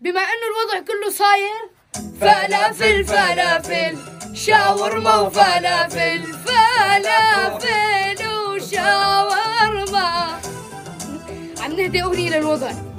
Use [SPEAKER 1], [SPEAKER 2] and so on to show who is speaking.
[SPEAKER 1] بما انه الوضع كله صاير فلافل فلافل شاورما وفلافل فلافل وشاورما عم نهدي اغنيه للوضع